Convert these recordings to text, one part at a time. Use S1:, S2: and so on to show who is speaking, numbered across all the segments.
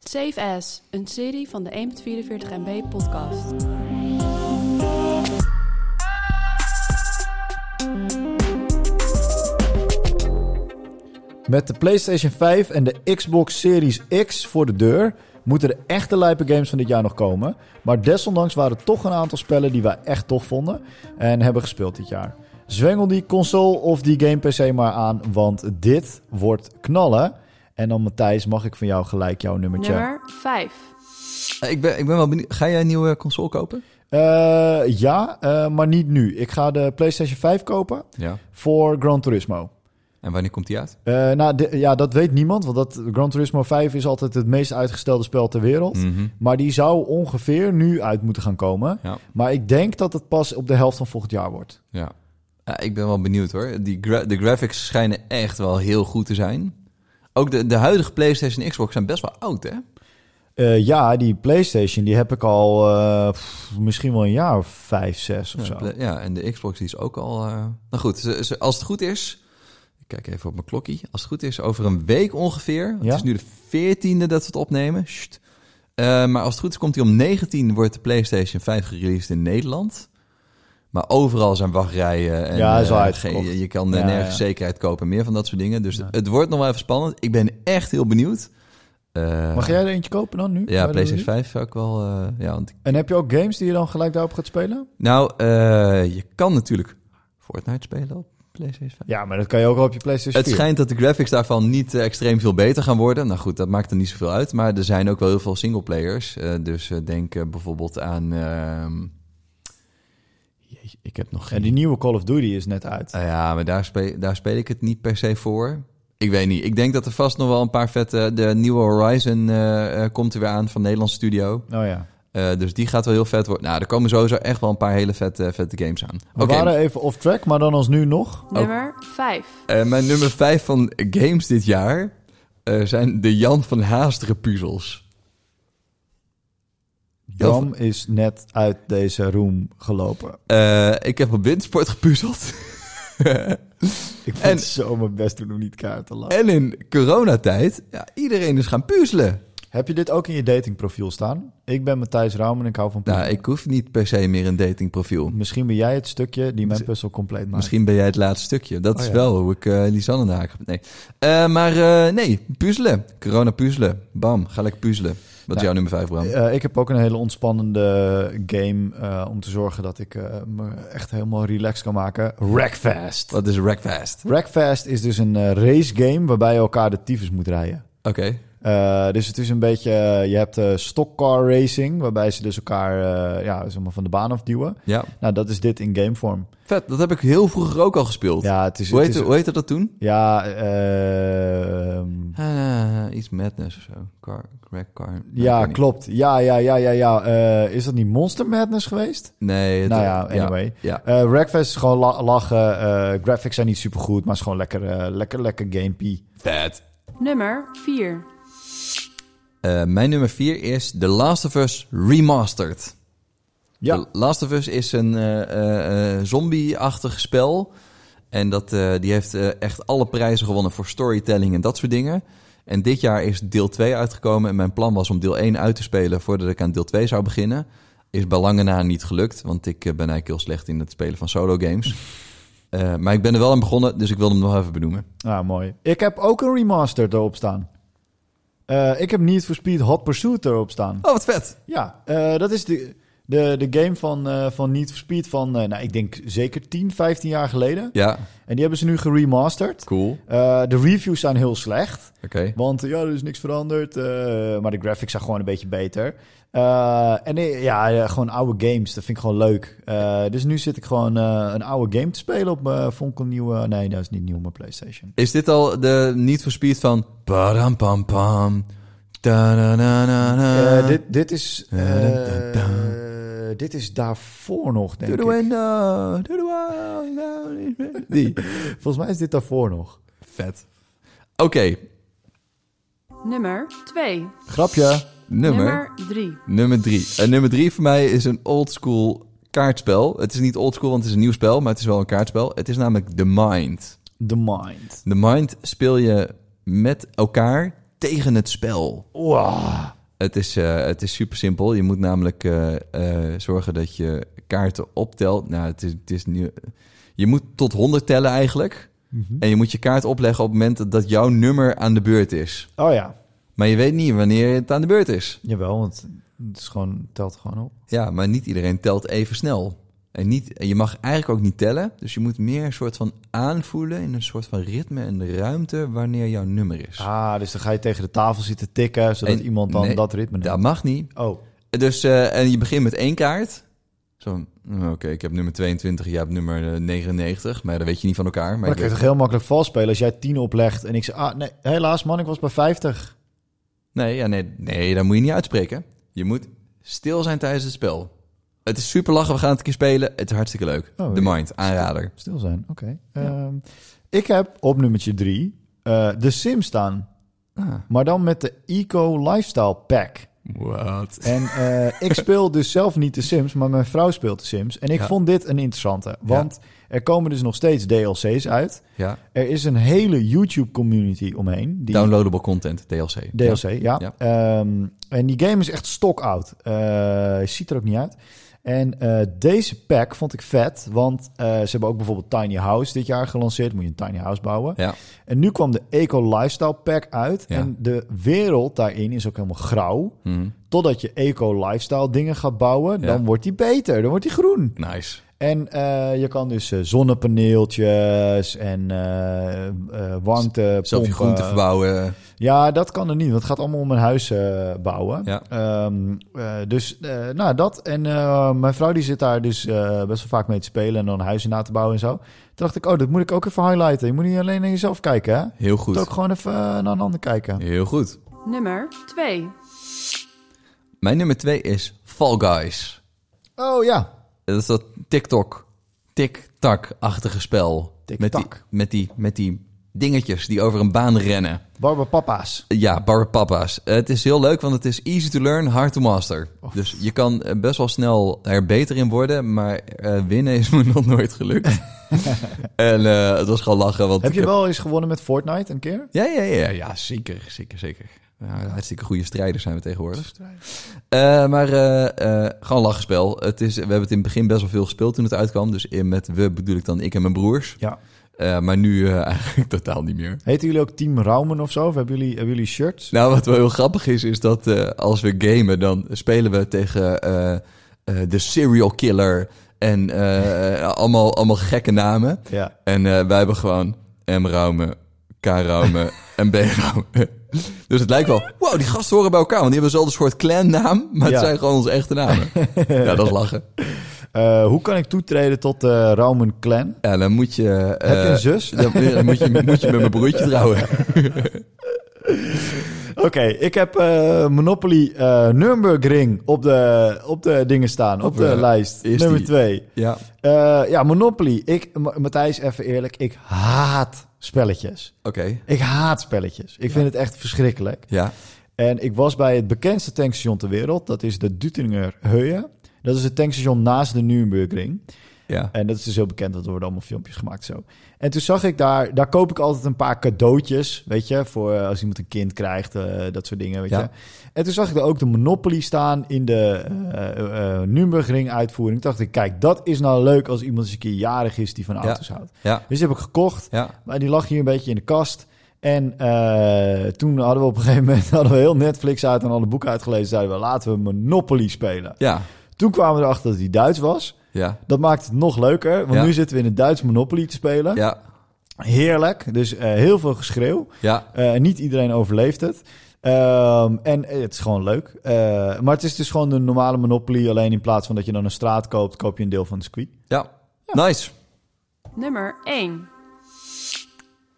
S1: Save As, een serie van de 1.44 MB podcast.
S2: Met de PlayStation 5 en de Xbox Series X voor de deur moeten de echte lijpe games van dit jaar nog komen. Maar desondanks waren er toch een aantal spellen die wij echt tof vonden en hebben gespeeld dit jaar. Zwengel die console of die game PC maar aan, want dit wordt knallen. En dan Matthijs, mag ik van jou gelijk jouw nummertje?
S1: Nummer 5.
S3: Eh, Ik ben, ik ben wel benieuwd. Ga jij een nieuwe console kopen?
S2: Eh, ja, eh, maar niet nu. Ik ga de PlayStation 5 kopen
S3: Ja.
S2: voor Gran Turismo.
S3: En wanneer komt die uit?
S2: Eh, nou, de- ja, dat weet niemand, want dat, Gran Turismo 5 is altijd het meest uitgestelde spel ter wereld.
S3: Mhm.
S2: Maar die zou ongeveer nu uit moeten gaan komen.
S3: Ja.
S2: Maar ik denk dat het pas op de helft van volgend jaar wordt.
S3: Ja. Ja, ik ben wel benieuwd hoor. Die gra- de graphics schijnen echt wel heel goed te zijn. Ook de, de huidige PlayStation en Xbox zijn best wel oud, hè?
S2: Eh, ja, die PlayStation die heb ik al eh, pff, misschien wel een jaar of vijf, zes of
S3: Ja,
S2: zo.
S3: pla- ja, en de Xbox die is ook al... eh, Nou goed, ze- ze- als het goed is... Ik kijk even op mijn klokkie. Als het goed is, over een week ongeveer... want
S2: Ja?
S3: Het is nu de 14e dat we het opnemen. Sst. Eh, maar als het goed is, komt hij om 19... wordt de PlayStation 5 gereleased in Nederland. Maar overal zijn wachtrijen. En,
S2: Ja, is wel
S3: eh,
S2: uitverkocht.
S3: geen- je, je kan eh,
S2: Ja,
S3: nergens
S2: ja.
S3: zekerheid kopen. Meer van dat soort dingen. Dus het wordt nog wel even spannend. Ik ben echt heel benieuwd. Eh,
S2: Mag jij er eentje kopen dan nu? Bij
S3: Ja,
S2: de
S3: PlayStation
S2: release?
S3: 5 zou ik wel... eh, ja, want
S2: En heb je ook games die je dan gelijk daarop gaat spelen?
S3: nou, eh, je kan natuurlijk Fortnite spelen op PlayStation 5.
S2: Ja, maar dat kan je ook al op je PlayStation
S3: Het
S2: 4.
S3: schijnt dat de graphics daarvan niet eh, extreem veel beter gaan worden. Nou goed, dat maakt er niet zoveel uit. Maar er zijn ook wel heel veel singleplayers. Eh dus eh, denk eh, bijvoorbeeld aan... ehm, Jeetje, ik heb nog geen...
S2: En die nieuwe Call of Duty is net uit.
S3: Ah ja, maar daar speel, daar speel ik het niet per se voor. Ik weet niet. Ik denk dat er vast nog wel een paar vette... De nieuwe Horizon eh, eh, komt er weer aan van Nederlands studio.
S2: Oh ja.
S3: Eh, dus die gaat wel heel vet worden. Nou, er komen sowieso echt wel een paar hele vette, vette games aan.
S2: We
S3: Oké.
S2: waren even off track, maar dan als nu nog.
S1: Nummer 5.
S3: Eh, mijn nummer 5 van games dit jaar eh, zijn de Jan van Haasteren puzzels. Heel
S2: Bram is net uit deze room gelopen.
S3: Eh, ik heb op windsport gepuzzeld.
S2: Ik vond
S3: En-
S2: zo mijn best doen om niet kaart te lachen.
S3: en in coronatijd, ja, iedereen is gaan puzzelen.
S2: Heb je dit ook in je datingprofiel staan? Ik ben Matthijs Raum en ik hou van puzzelen.
S3: Nou, ik hoef niet per se meer een datingprofiel.
S2: Misschien ben jij het stukje die mijn puzzel compleet maakt.
S3: Misschien ben jij het laatste stukje. Dat
S2: Oh,
S3: is
S2: ja.
S3: wel hoe ik eh Lisanne in de haak heb. Nee. Eh, maar eh, nee, puzzelen. Corona puzzelen. Bam, ga lekker puzzelen. Wat is
S2: Nou,
S3: jouw nummer 5, Bram?
S2: Eh, ik heb ook een hele ontspannende game eh, om te zorgen dat ik eh, me echt helemaal relaxed kan maken. Wreckfest.
S3: Wat is Rackfast?
S2: Wreckfest is dus een eh, race game waarbij je elkaar de tyfus moet rijden.
S3: Oké.
S2: Eh, dus het is een beetje, eh, je hebt eh stockcar racing, waarbij ze dus elkaar eh, ja, zeg maar van de baan afduwen.
S3: Ja.
S2: Nou, dat is dit in gamevorm.
S3: Vet, dat heb ik heel vroeger ook al gespeeld.
S2: Ja, het is...
S3: hoe,
S2: het
S3: heette,
S2: is-
S3: hoe heette dat toen?
S2: Ja, ehm,
S3: Ah, iets madness of zo. Car, crack car. Nou, ik
S2: ja
S3: weet niet.
S2: klopt. Ja, ja, ja, ja, ja. Eh, is dat niet Monster Madness geweest?
S3: Nee. het-
S2: nou ja, anyway.
S3: Ja.
S2: Eh Wreckfest is gewoon la- lachen. eh, graphics zijn niet super goed, maar is gewoon lekker, eh, lekker, lekker gamepie.
S3: Vet.
S1: Nummer 4.
S3: Eh, mijn nummer 4 is The Last of Us Remastered.
S2: Ja,
S3: The Last of Us is een eh, eh, eh, zombie-achtig spel. En dat, eh, die heeft eh, echt alle prijzen gewonnen voor storytelling en dat soort dingen. En dit jaar is deel 2 uitgekomen. En mijn plan was om deel 1 uit te spelen voordat ik aan deel 2 zou beginnen. Is bij lange na niet gelukt, want ik eh, ben eigenlijk heel slecht in het spelen van solo games. Eh, maar ik ben er wel aan begonnen, dus ik wilde hem nog even benoemen.
S2: ah, mooi. Ik heb ook een remastered erop staan. Eh, ik heb Need for Speed Hot Pursuit erop staan.
S3: Oh, wat vet!
S2: Ja, eh, dat is de, de, de game van, eh, van Need for Speed van, eh, nou, ik denk zeker 10, 15 jaar geleden.
S3: Ja,
S2: En die hebben ze nu geremasterd.
S3: cool.
S2: Eh, de reviews zijn heel slecht.
S3: Oké.
S2: Want eh, ja, er is niks veranderd. eh, maar de graphics zijn gewoon een beetje beter. Eh, en eh, ja, ja, gewoon oude games. Dat vind ik gewoon leuk. Eh, dus nu zit ik gewoon eh, een oude game te spelen op mijn fonkelnieuwe... Nee, dat is niet nieuw, mijn PlayStation.
S3: Is dit al de niet voor speed van. Padam pam pam. Da-na-na-na-na.
S2: Eh, dit, dit is... eh,
S3: Da-da-da-da.
S2: dit is daarvoor nog, denk
S3: Through
S2: ik.
S3: the window, through the window. Die.
S2: Volgens mij is dit daarvoor nog.
S3: Vet. Oké,
S1: Nummer 2.
S2: Grapje.
S3: nummer.
S1: Nummer 3.
S3: Nummer drie. En nummer drie voor mij is een oldschool kaartspel. Het is niet oldschool, want het is een nieuw spel, maar het is wel een kaartspel. Het is namelijk The Mind.
S2: The Mind.
S3: The Mind speel je met elkaar tegen het spel.
S2: Wow.
S3: Het is, eh, het is super simpel. Je moet namelijk eh, eh, zorgen dat je kaarten optelt. Nou, het is, het is nu. Je moet tot 100 tellen eigenlijk. En je moet je kaart opleggen op het moment dat jouw nummer aan de beurt is.
S2: Oh ja,
S3: Maar je weet niet wanneer het aan de beurt is.
S2: jawel, want het is gewoon, telt gewoon op.
S3: Ja, maar niet iedereen telt even snel. En, niet, en je mag eigenlijk ook niet tellen. Dus je moet meer een soort van aanvoelen in een soort van ritme en ruimte wanneer jouw nummer is.
S2: Ah, dus dan ga je tegen de tafel zitten tikken, zodat
S3: En-
S2: iemand dan
S3: nee,
S2: dat ritme
S3: Dat
S2: neemt.
S3: mag niet.
S2: Oh,
S3: Dus, eh, en je begint met één kaart. Zo, nou, oké, ik heb nummer 22, jij hebt nummer eh, 99. Maar dat weet je niet van elkaar. Maar
S2: maar
S3: ik
S2: dan kun je toch heel makkelijk vals spelen als jij 10 oplegt en ik zeg, ah nee, helaas man, ik was bij 50.
S3: Nee, ja, nee, nee, dat moet je niet uitspreken. Je moet stil zijn tijdens het spel. Het is super lachen, we gaan het een keer spelen. Het is hartstikke leuk.
S2: Oh,
S3: The
S2: ja.
S3: Mind, aanrader.
S2: Stil zijn, oké. Ehm, ik heb op nummertje 3 de Sim staan,
S3: Ah,
S2: maar dan met de Eco Lifestyle Pack.
S3: Wat?
S2: En eh, ik speel dus zelf niet de Sims, maar mijn vrouw speelt de Sims. En ik
S3: Ja.
S2: vond dit een interessante, want er komen dus nog steeds DLC's uit.
S3: Ja,
S2: Er is een hele YouTube-community omheen. Die
S3: downloadable content, DLC.
S2: DLC,
S3: Ja.
S2: ja. Ehm, en die game is echt stokoud. Eh ziet er ook niet uit. En eh, deze pack vond ik vet, want eh, ze hebben ook bijvoorbeeld Tiny House dit jaar gelanceerd. Moet je een tiny house bouwen.
S3: Ja.
S2: En nu kwam de Eco Lifestyle Pack uit.
S3: Ja.
S2: En de wereld daarin is ook helemaal grauw.
S3: Mhm.
S2: Totdat je Eco Lifestyle dingen gaat bouwen,
S3: Ja.
S2: dan wordt die beter. Dan wordt die groen.
S3: Nice.
S2: En eh, je kan dus eh, zonnepaneeltjes en eh eh warmte.
S3: Zelf je groente
S2: eh,
S3: verbouwen.
S2: Ja, dat kan er niet, want het gaat allemaal om een huis eh, bouwen.
S3: Ja.
S2: Ehm, eh, dus, eh, nou, dat. En eh, mijn vrouw die zit daar dus eh, best wel vaak mee te spelen en dan huizen na te bouwen en zo. Toen dacht ik, oh, dat moet ik ook even highlighten. Je moet niet alleen naar jezelf kijken, hè? Je
S3: Heel
S2: moet
S3: goed.
S2: ook gewoon even eh, naar een ander kijken.
S3: Heel goed.
S1: Nummer 2.
S3: Mijn nummer twee is Fall Guys.
S2: Oh ja,
S3: Dat is dat TikTok, tik-tak-achtige spel. Met die,
S2: Tik-tak.
S3: met, die, met die dingetjes die over een baan rennen.
S2: Barba Papa's.
S3: Ja, Barbapapa's. Het is heel leuk, want het is easy to learn, hard to master. Dus je kan eh, best wel snel er beter in worden, maar eh, winnen is me nog nooit gelukt. en eh, het was gewoon lachen. Want
S2: Heb
S3: ik
S2: je wel eens gewonnen met Fortnite een keer?
S3: Ja, ja, ja, ja, zeker, zeker, zeker. Ja, hartstikke goede strijders zijn we tegenwoordig. Eh, maar eh, eh, gewoon lachspel. Het is, we hebben het in het begin best wel veel gespeeld toen het uitkwam. Dus in- met we bedoel ik dan ik en mijn broers.
S2: Ja.
S3: Eh, maar nu eh, eigenlijk totaal niet meer.
S2: Heten jullie ook Team Raumen of zo? Of hebben jullie, hebben jullie shirts?
S3: Nou, wat wel heel grappig is, is dat eh, als we gamen, dan spelen we tegen eh, eh, de serial killer en eh, eh, allemaal, allemaal gekke namen.
S2: Ja.
S3: En eh, wij hebben gewoon M. Raume, K. Raume en B. Raume. Dus het lijkt wel, wow, die gasten horen bij elkaar, want die hebben dezelfde soort clannaam, maar het
S2: Ja.
S3: zijn gewoon onze echte namen. ja, dat is lachen.
S2: Eh, hoe kan ik toetreden tot de Raumen Clan?
S3: Ja, dan moet je... eh,
S2: Heb je een zus?
S3: Dan, dan moet, je, moet je met mijn broertje trouwen.
S2: Oké, ik heb eh, Monopoly eh Nürburgring op de, op de dingen staan, op,
S3: Op,
S2: de
S3: eh,
S2: lijst.
S3: is
S2: Nummer
S3: die-
S2: twee.
S3: Ja.
S2: Eh, ja, Monopoly. Ik, Ma- Matthijs, even eerlijk, ik haat spelletjes.
S3: Oké.
S2: Ik haat spelletjes. Ik vind het echt verschrikkelijk.
S3: Ja.
S2: En ik was bij het bekendste tankstation ter wereld. Dat is de Duttinger Heuje. Dat is het tankstation naast de Nürburgring.
S3: Ja.
S2: En dat is dus heel bekend, want er worden allemaal filmpjes gemaakt zo. En toen zag ik daar, daar koop ik altijd een paar cadeautjes, weet je, voor eh, als iemand een kind krijgt, eh, dat soort dingen, weet
S3: Ja.
S2: je. En toen zag ik daar ook de Monopoly staan in de eh Nürburgring uitvoering. Toen dacht ik, kijk, dat is nou leuk als iemand eens een keer jarig is die van auto's houdt.
S3: Ja.
S2: Dus die heb ik gekocht,
S3: Ja.
S2: maar die lag hier een beetje in de kast. En eh, toen hadden we op een gegeven moment hadden we heel Netflix uit en alle boeken uitgelezen. Zeiden we, laten we Monopoly spelen.
S3: Ja.
S2: Toen kwamen we erachter dat hij Duits was.
S3: Ja.
S2: Dat maakt het nog leuker, want
S3: Ja.
S2: nu zitten we in het Duits Monopoly te spelen.
S3: Ja.
S2: Heerlijk, dus eh, heel veel geschreeuw.
S3: Ja.
S2: Eh, niet iedereen overleeft het. Ehm, en het is gewoon leuk. Eh, maar het is dus gewoon de normale Monopoly. Alleen in plaats van dat je dan een straat koopt, koop je een deel van de squeak.
S3: Ja. Nice.
S1: Nummer 1.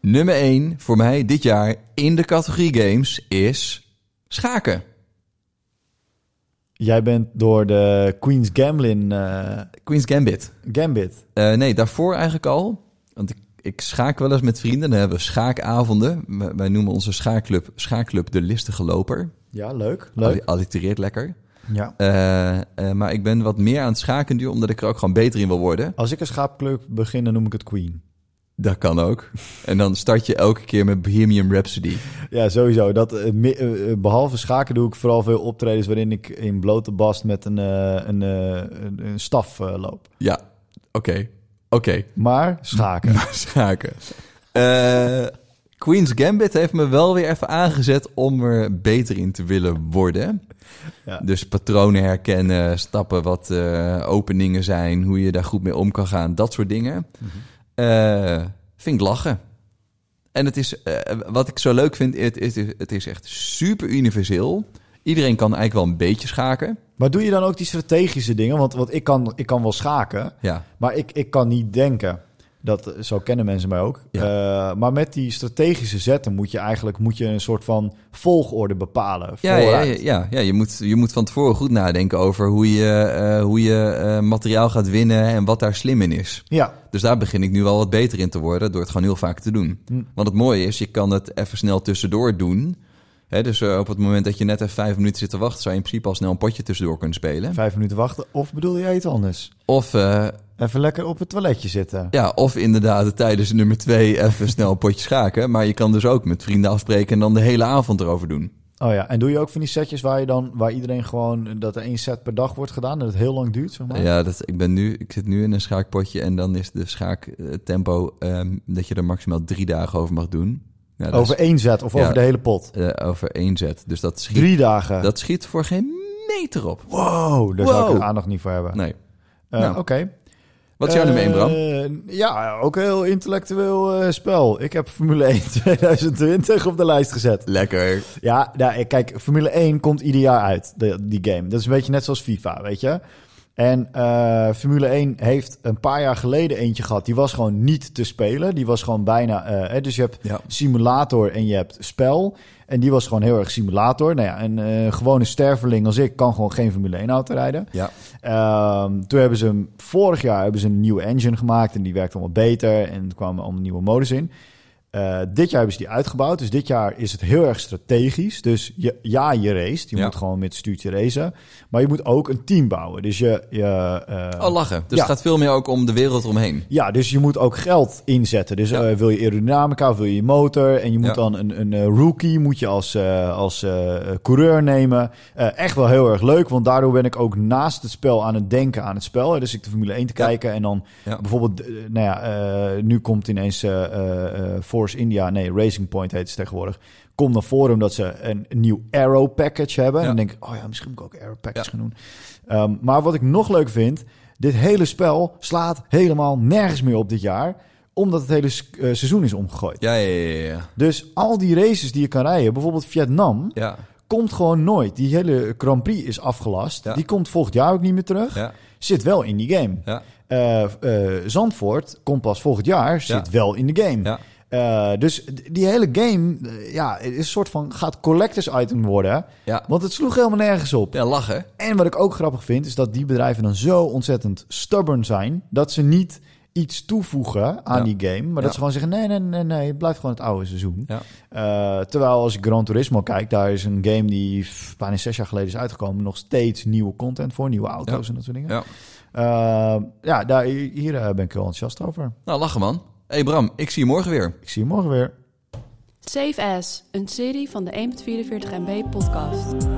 S3: Nummer 1 voor mij dit jaar in de categorie games is schaken.
S2: Jij bent door de Queen's Gambling eh,
S3: Queen's Gambit.
S2: Gambit.
S3: Eh, nee, daarvoor eigenlijk al. Want ik, ik schaak wel eens met vrienden. Dan hebben we schaakavonden. Wij, wij noemen onze schaakclub, schaakclub de listige loper.
S2: Ja, leuk. Leuk.
S3: Alli- Allitereert lekker.
S2: Ja.
S3: Eh, eh, maar ik ben wat meer aan het schaken nu, omdat ik er ook gewoon beter in wil worden.
S2: Als ik een schaapclub begin, dan noem ik het Queen.
S3: Dat kan ook. En dan start je elke keer met Bohemian Rhapsody.
S2: Ja, sowieso. Dat, eh, mi- eh, eh, behalve schaken doe ik vooral veel optredens waarin ik in blote bast met een, eh, een, eh, een, een staf eh, loop.
S3: Ja, oké. Oké,
S2: Maar schaken.
S3: schaken. Eh, Queen's Gambit heeft me wel weer even aangezet om er beter in te willen worden.
S2: Ja.
S3: Dus patronen herkennen, stappen wat eh, openingen zijn, hoe je daar goed mee om kan gaan, dat soort dingen. Eh, vind ik lachen. En het is, eh, wat ik zo leuk vind, het, het, het is echt super universeel. Iedereen kan eigenlijk wel een beetje schaken.
S2: maar doe je dan ook die strategische dingen? Want, want ik, kan, ik kan wel schaken,
S3: Ja,
S2: maar ik, ik kan niet denken. Dat, eh, zo kennen mensen mij ook. Eh, maar met die strategische zetten moet je eigenlijk moet je een soort van volgorde bepalen.
S3: Ja, ja,
S2: vooruit.
S3: ja, ja, ja. Je, moet, je moet van tevoren goed nadenken over hoe je, eh, hoe je eh, materiaal gaat winnen en wat daar slim in is.
S2: ja,
S3: Dus daar begin ik nu wel wat beter in te worden door het gewoon heel vaak te doen.
S2: Hm.
S3: Want het mooie is, je kan het even snel tussendoor doen. Hè, dus eh, op het moment dat je net even vijf minuten zit te wachten, zou je in principe al snel een potje tussendoor kunnen spelen.
S2: vijf minuten wachten. Of bedoel jij iets anders?
S3: Of, eh,
S2: Even lekker op het toiletje zitten.
S3: ja, of inderdaad tijdens nummer twee even snel een potje schaken. Maar je kan dus ook met vrienden afspreken en dan de hele avond erover doen.
S2: Oh ja, en doe je ook van die setjes waar je dan, waar iedereen gewoon dat er één set per dag wordt gedaan en dat het heel lang duurt, zeg maar.
S3: Ja, dat, ik, ben nu, ik zit nu in een schaakpotje en dan is de schaaktempo ehm, dat je er maximaal drie dagen over mag doen. Ja, dat
S2: Over één set of
S3: Ja.
S2: over de hele pot.
S3: is, eh, over één zet. Dus dat schiet,
S2: Drie dagen.
S3: dat schiet voor geen meter op.
S2: Wow, daar zou ik
S3: Wow.
S2: er aandacht niet voor hebben.
S3: Nee.
S2: Eh,
S3: nou.
S2: Oké.
S3: Wat is jouw
S2: Eh,
S3: nummer één, Bram?
S2: Ja, ook een heel intellectueel eh, spel. Ik heb Formule 1 2020 op de lijst gezet.
S3: Lekker.
S2: Ja, nou, kijk, Formule 1 komt ieder jaar uit, de- die game. Dat is een beetje net zoals FIFA, weet je. En eh, Formule 1 heeft een paar jaar geleden eentje gehad. Die was gewoon niet te spelen. Die was gewoon bijna... eh, hè, dus je hebt
S3: Ja.
S2: simulator en je hebt spel. En die was gewoon heel erg simulator. Nou ja, een eh, gewone sterveling als ik kan gewoon geen Formule 1 auto rijden.
S3: Ja.
S2: Ehm, toen hebben ze hem, vorig jaar hebben ze een nieuwe engine gemaakt en die werkte allemaal beter en er kwamen allemaal nieuwe modus in. Eh, dit jaar hebben ze die uitgebouwd, dus dit jaar is het heel erg strategisch. Dus je, ja, je race, je
S3: Ja.
S2: moet gewoon met het stuurtje racen, maar je moet ook een team bouwen. Dus je, je eh,
S3: Oh, lachen. Dus
S2: ja.
S3: het gaat veel meer ook om de wereld omheen.
S2: ja, dus je moet ook geld inzetten. Dus
S3: Ja.
S2: eh, wil je aerodynamica, of wil je je motor? En je moet
S3: Ja.
S2: dan een, een eh, rookie moet je als, eh, als eh, coureur nemen. Eh, echt wel heel erg leuk, want daardoor ben ik ook naast het spel aan het denken aan het spel. Dus ik de Formule 1 te
S3: Ja.
S2: kijken en dan
S3: Ja.
S2: bijvoorbeeld... eh, nou ja, eh, nu komt ineens eh, eh, eh, Force India, nee, Racing Point heet ze tegenwoordig... Kom naar voren omdat ze een, een nieuw Arrow Package hebben.
S3: Ja.
S2: En dan denk ik, oh ja, misschien moet ik ook Arrow Package
S3: Ja.
S2: gaan doen. Ehm, maar wat ik nog leuk vind, dit hele spel slaat helemaal nergens meer op dit jaar, omdat het hele s- eh, seizoen is omgegooid.
S3: Ja, ja, ja, ja, ja.
S2: Dus al die races die je kan rijden, bijvoorbeeld Vietnam,
S3: Ja,
S2: komt gewoon nooit. Die hele Grand Prix is afgelast.
S3: Ja.
S2: Die komt volgend jaar ook niet meer terug.
S3: ja,
S2: Zit wel in die game.
S3: ja.
S2: Eh, eh, Zandvoort komt pas volgend jaar, zit
S3: Ja.
S2: wel in de game.
S3: ja.
S2: Eh, dus d- die hele game eh, ja, is een soort van gaat collectors item worden.
S3: Ja.
S2: Want het sloeg helemaal nergens op.
S3: Ja, lachen.
S2: En wat ik ook grappig vind, is dat die bedrijven dan zo ontzettend stubborn zijn dat ze niet iets toevoegen aan
S3: Ja.
S2: die game, maar
S3: Ja.
S2: dat ze gewoon zeggen: nee, nee, nee, nee, het blijft gewoon het oude seizoen.
S3: Ja.
S2: Eh, terwijl als ik Gran Turismo kijk, daar is een game die pff, bijna zes jaar geleden is uitgekomen, nog steeds nieuwe content voor, nieuwe auto's
S3: Ja.
S2: en dat soort dingen.
S3: Ja.
S2: Ja, Eh, ja daar, hier eh, ben ik heel enthousiast over.
S3: Nou, lachen, man. Hé, hey, Bram, ik zie je morgen weer.
S2: Ik zie je morgen weer.
S1: Save As, een serie van de 1.44 MB podcast.